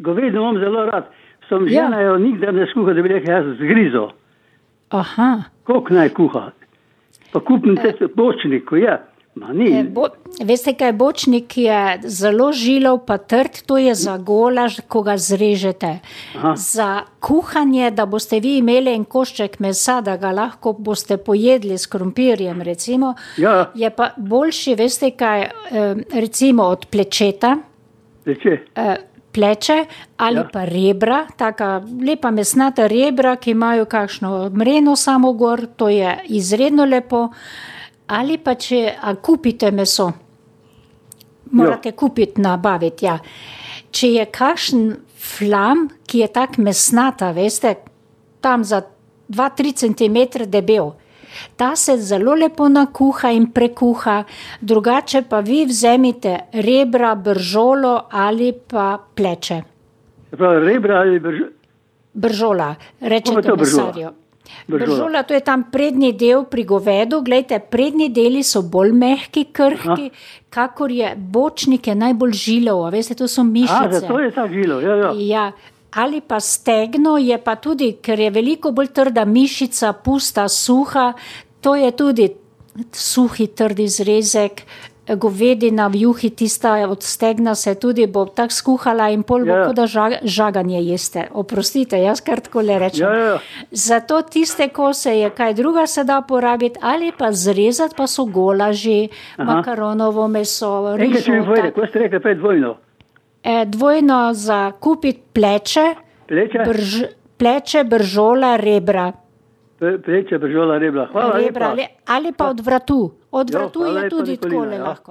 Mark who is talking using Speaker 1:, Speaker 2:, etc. Speaker 1: Govedino imam zelo rad. Sem
Speaker 2: Ja.
Speaker 1: žena, jo nikdar ne skuha, da bi rekel, jaz zgrizo.
Speaker 2: Aha.
Speaker 1: Koliko naj kuha? Pa kupim te bočnik, ja. Ma
Speaker 2: E,
Speaker 1: ni.
Speaker 2: Bo, veste, kaj je bočnik, ki je zelo žilav, pa trd, to je za golaž, ko ga zrežete.
Speaker 1: Aha.
Speaker 2: Za kuhanje, da boste vi imeli en košček mesa, da ga lahko boste pojedli s krompirjem, recimo,
Speaker 1: Ja,
Speaker 2: je pa boljši, veste, kaj eh, recimo od plečeta.
Speaker 1: reče.
Speaker 2: eh, pleče ali
Speaker 1: Ja.
Speaker 2: ja. pa rebra, tako lepa mesnata rebra, ki imajo kakšno mreno samo gor, to je izredno lepo. Ali pa če a kupite meso, morate jo. kupiti, nabaviti. Ja. Če je kakšen flam, ki je tako mesnata, veste, tam za 2-3 cm debel. Ta se zelo lepo nakuha in prekuha, drugače pa vi vzemite rebra, bržolo ali pa pleče.
Speaker 1: Se pravi, rebra ali brž...
Speaker 2: Bržola,
Speaker 1: Kako je
Speaker 2: rečete
Speaker 1: to bržola?
Speaker 2: mesarju.
Speaker 1: Bržola.
Speaker 2: Bržola, to je tam prednji del pri govedu. Glejte, prednji deli so bolj mehki, krhki, kakor je bočnik, je najbolj žilav. a Veste, to so
Speaker 1: A,
Speaker 2: mišice.
Speaker 1: zato je ta žilo, ja, ja.
Speaker 2: Ja, ali pa stegno je pa tudi, ker je veliko bolj trda mišica, pusta, suha. To je tudi suhi, trdi izrezek. Govedina v juhi, tista od stegna se tudi bo tako skuhala in pol bo
Speaker 1: Ja.
Speaker 2: yeah. kot da ža- žaganje jeste. Oprostite, jaz kar tako le rečem.
Speaker 1: Ja, ja, ja.
Speaker 2: Zato tiste kose je kaj druga se da porabiti ali pa zrezati, pa so golaži,
Speaker 1: Aha.
Speaker 2: makaronovo meso,
Speaker 1: Enkrat če mi povede,
Speaker 2: rižota.
Speaker 1: ko ste rekli, pet dvojno.
Speaker 2: E, Dvojno za kupiti pleče,
Speaker 1: Pleče,
Speaker 2: Brž, pleče, bržola, rebra.
Speaker 1: Pre- pleče, bržola, rebra. Hvala
Speaker 2: rebra
Speaker 1: lepa.
Speaker 2: ali, ali pa od vratu. Od
Speaker 1: Jo,
Speaker 2: vratu
Speaker 1: hvala
Speaker 2: je
Speaker 1: lepa,
Speaker 2: tudi
Speaker 1: Nikolina,
Speaker 2: tako
Speaker 1: ja.
Speaker 2: lahko.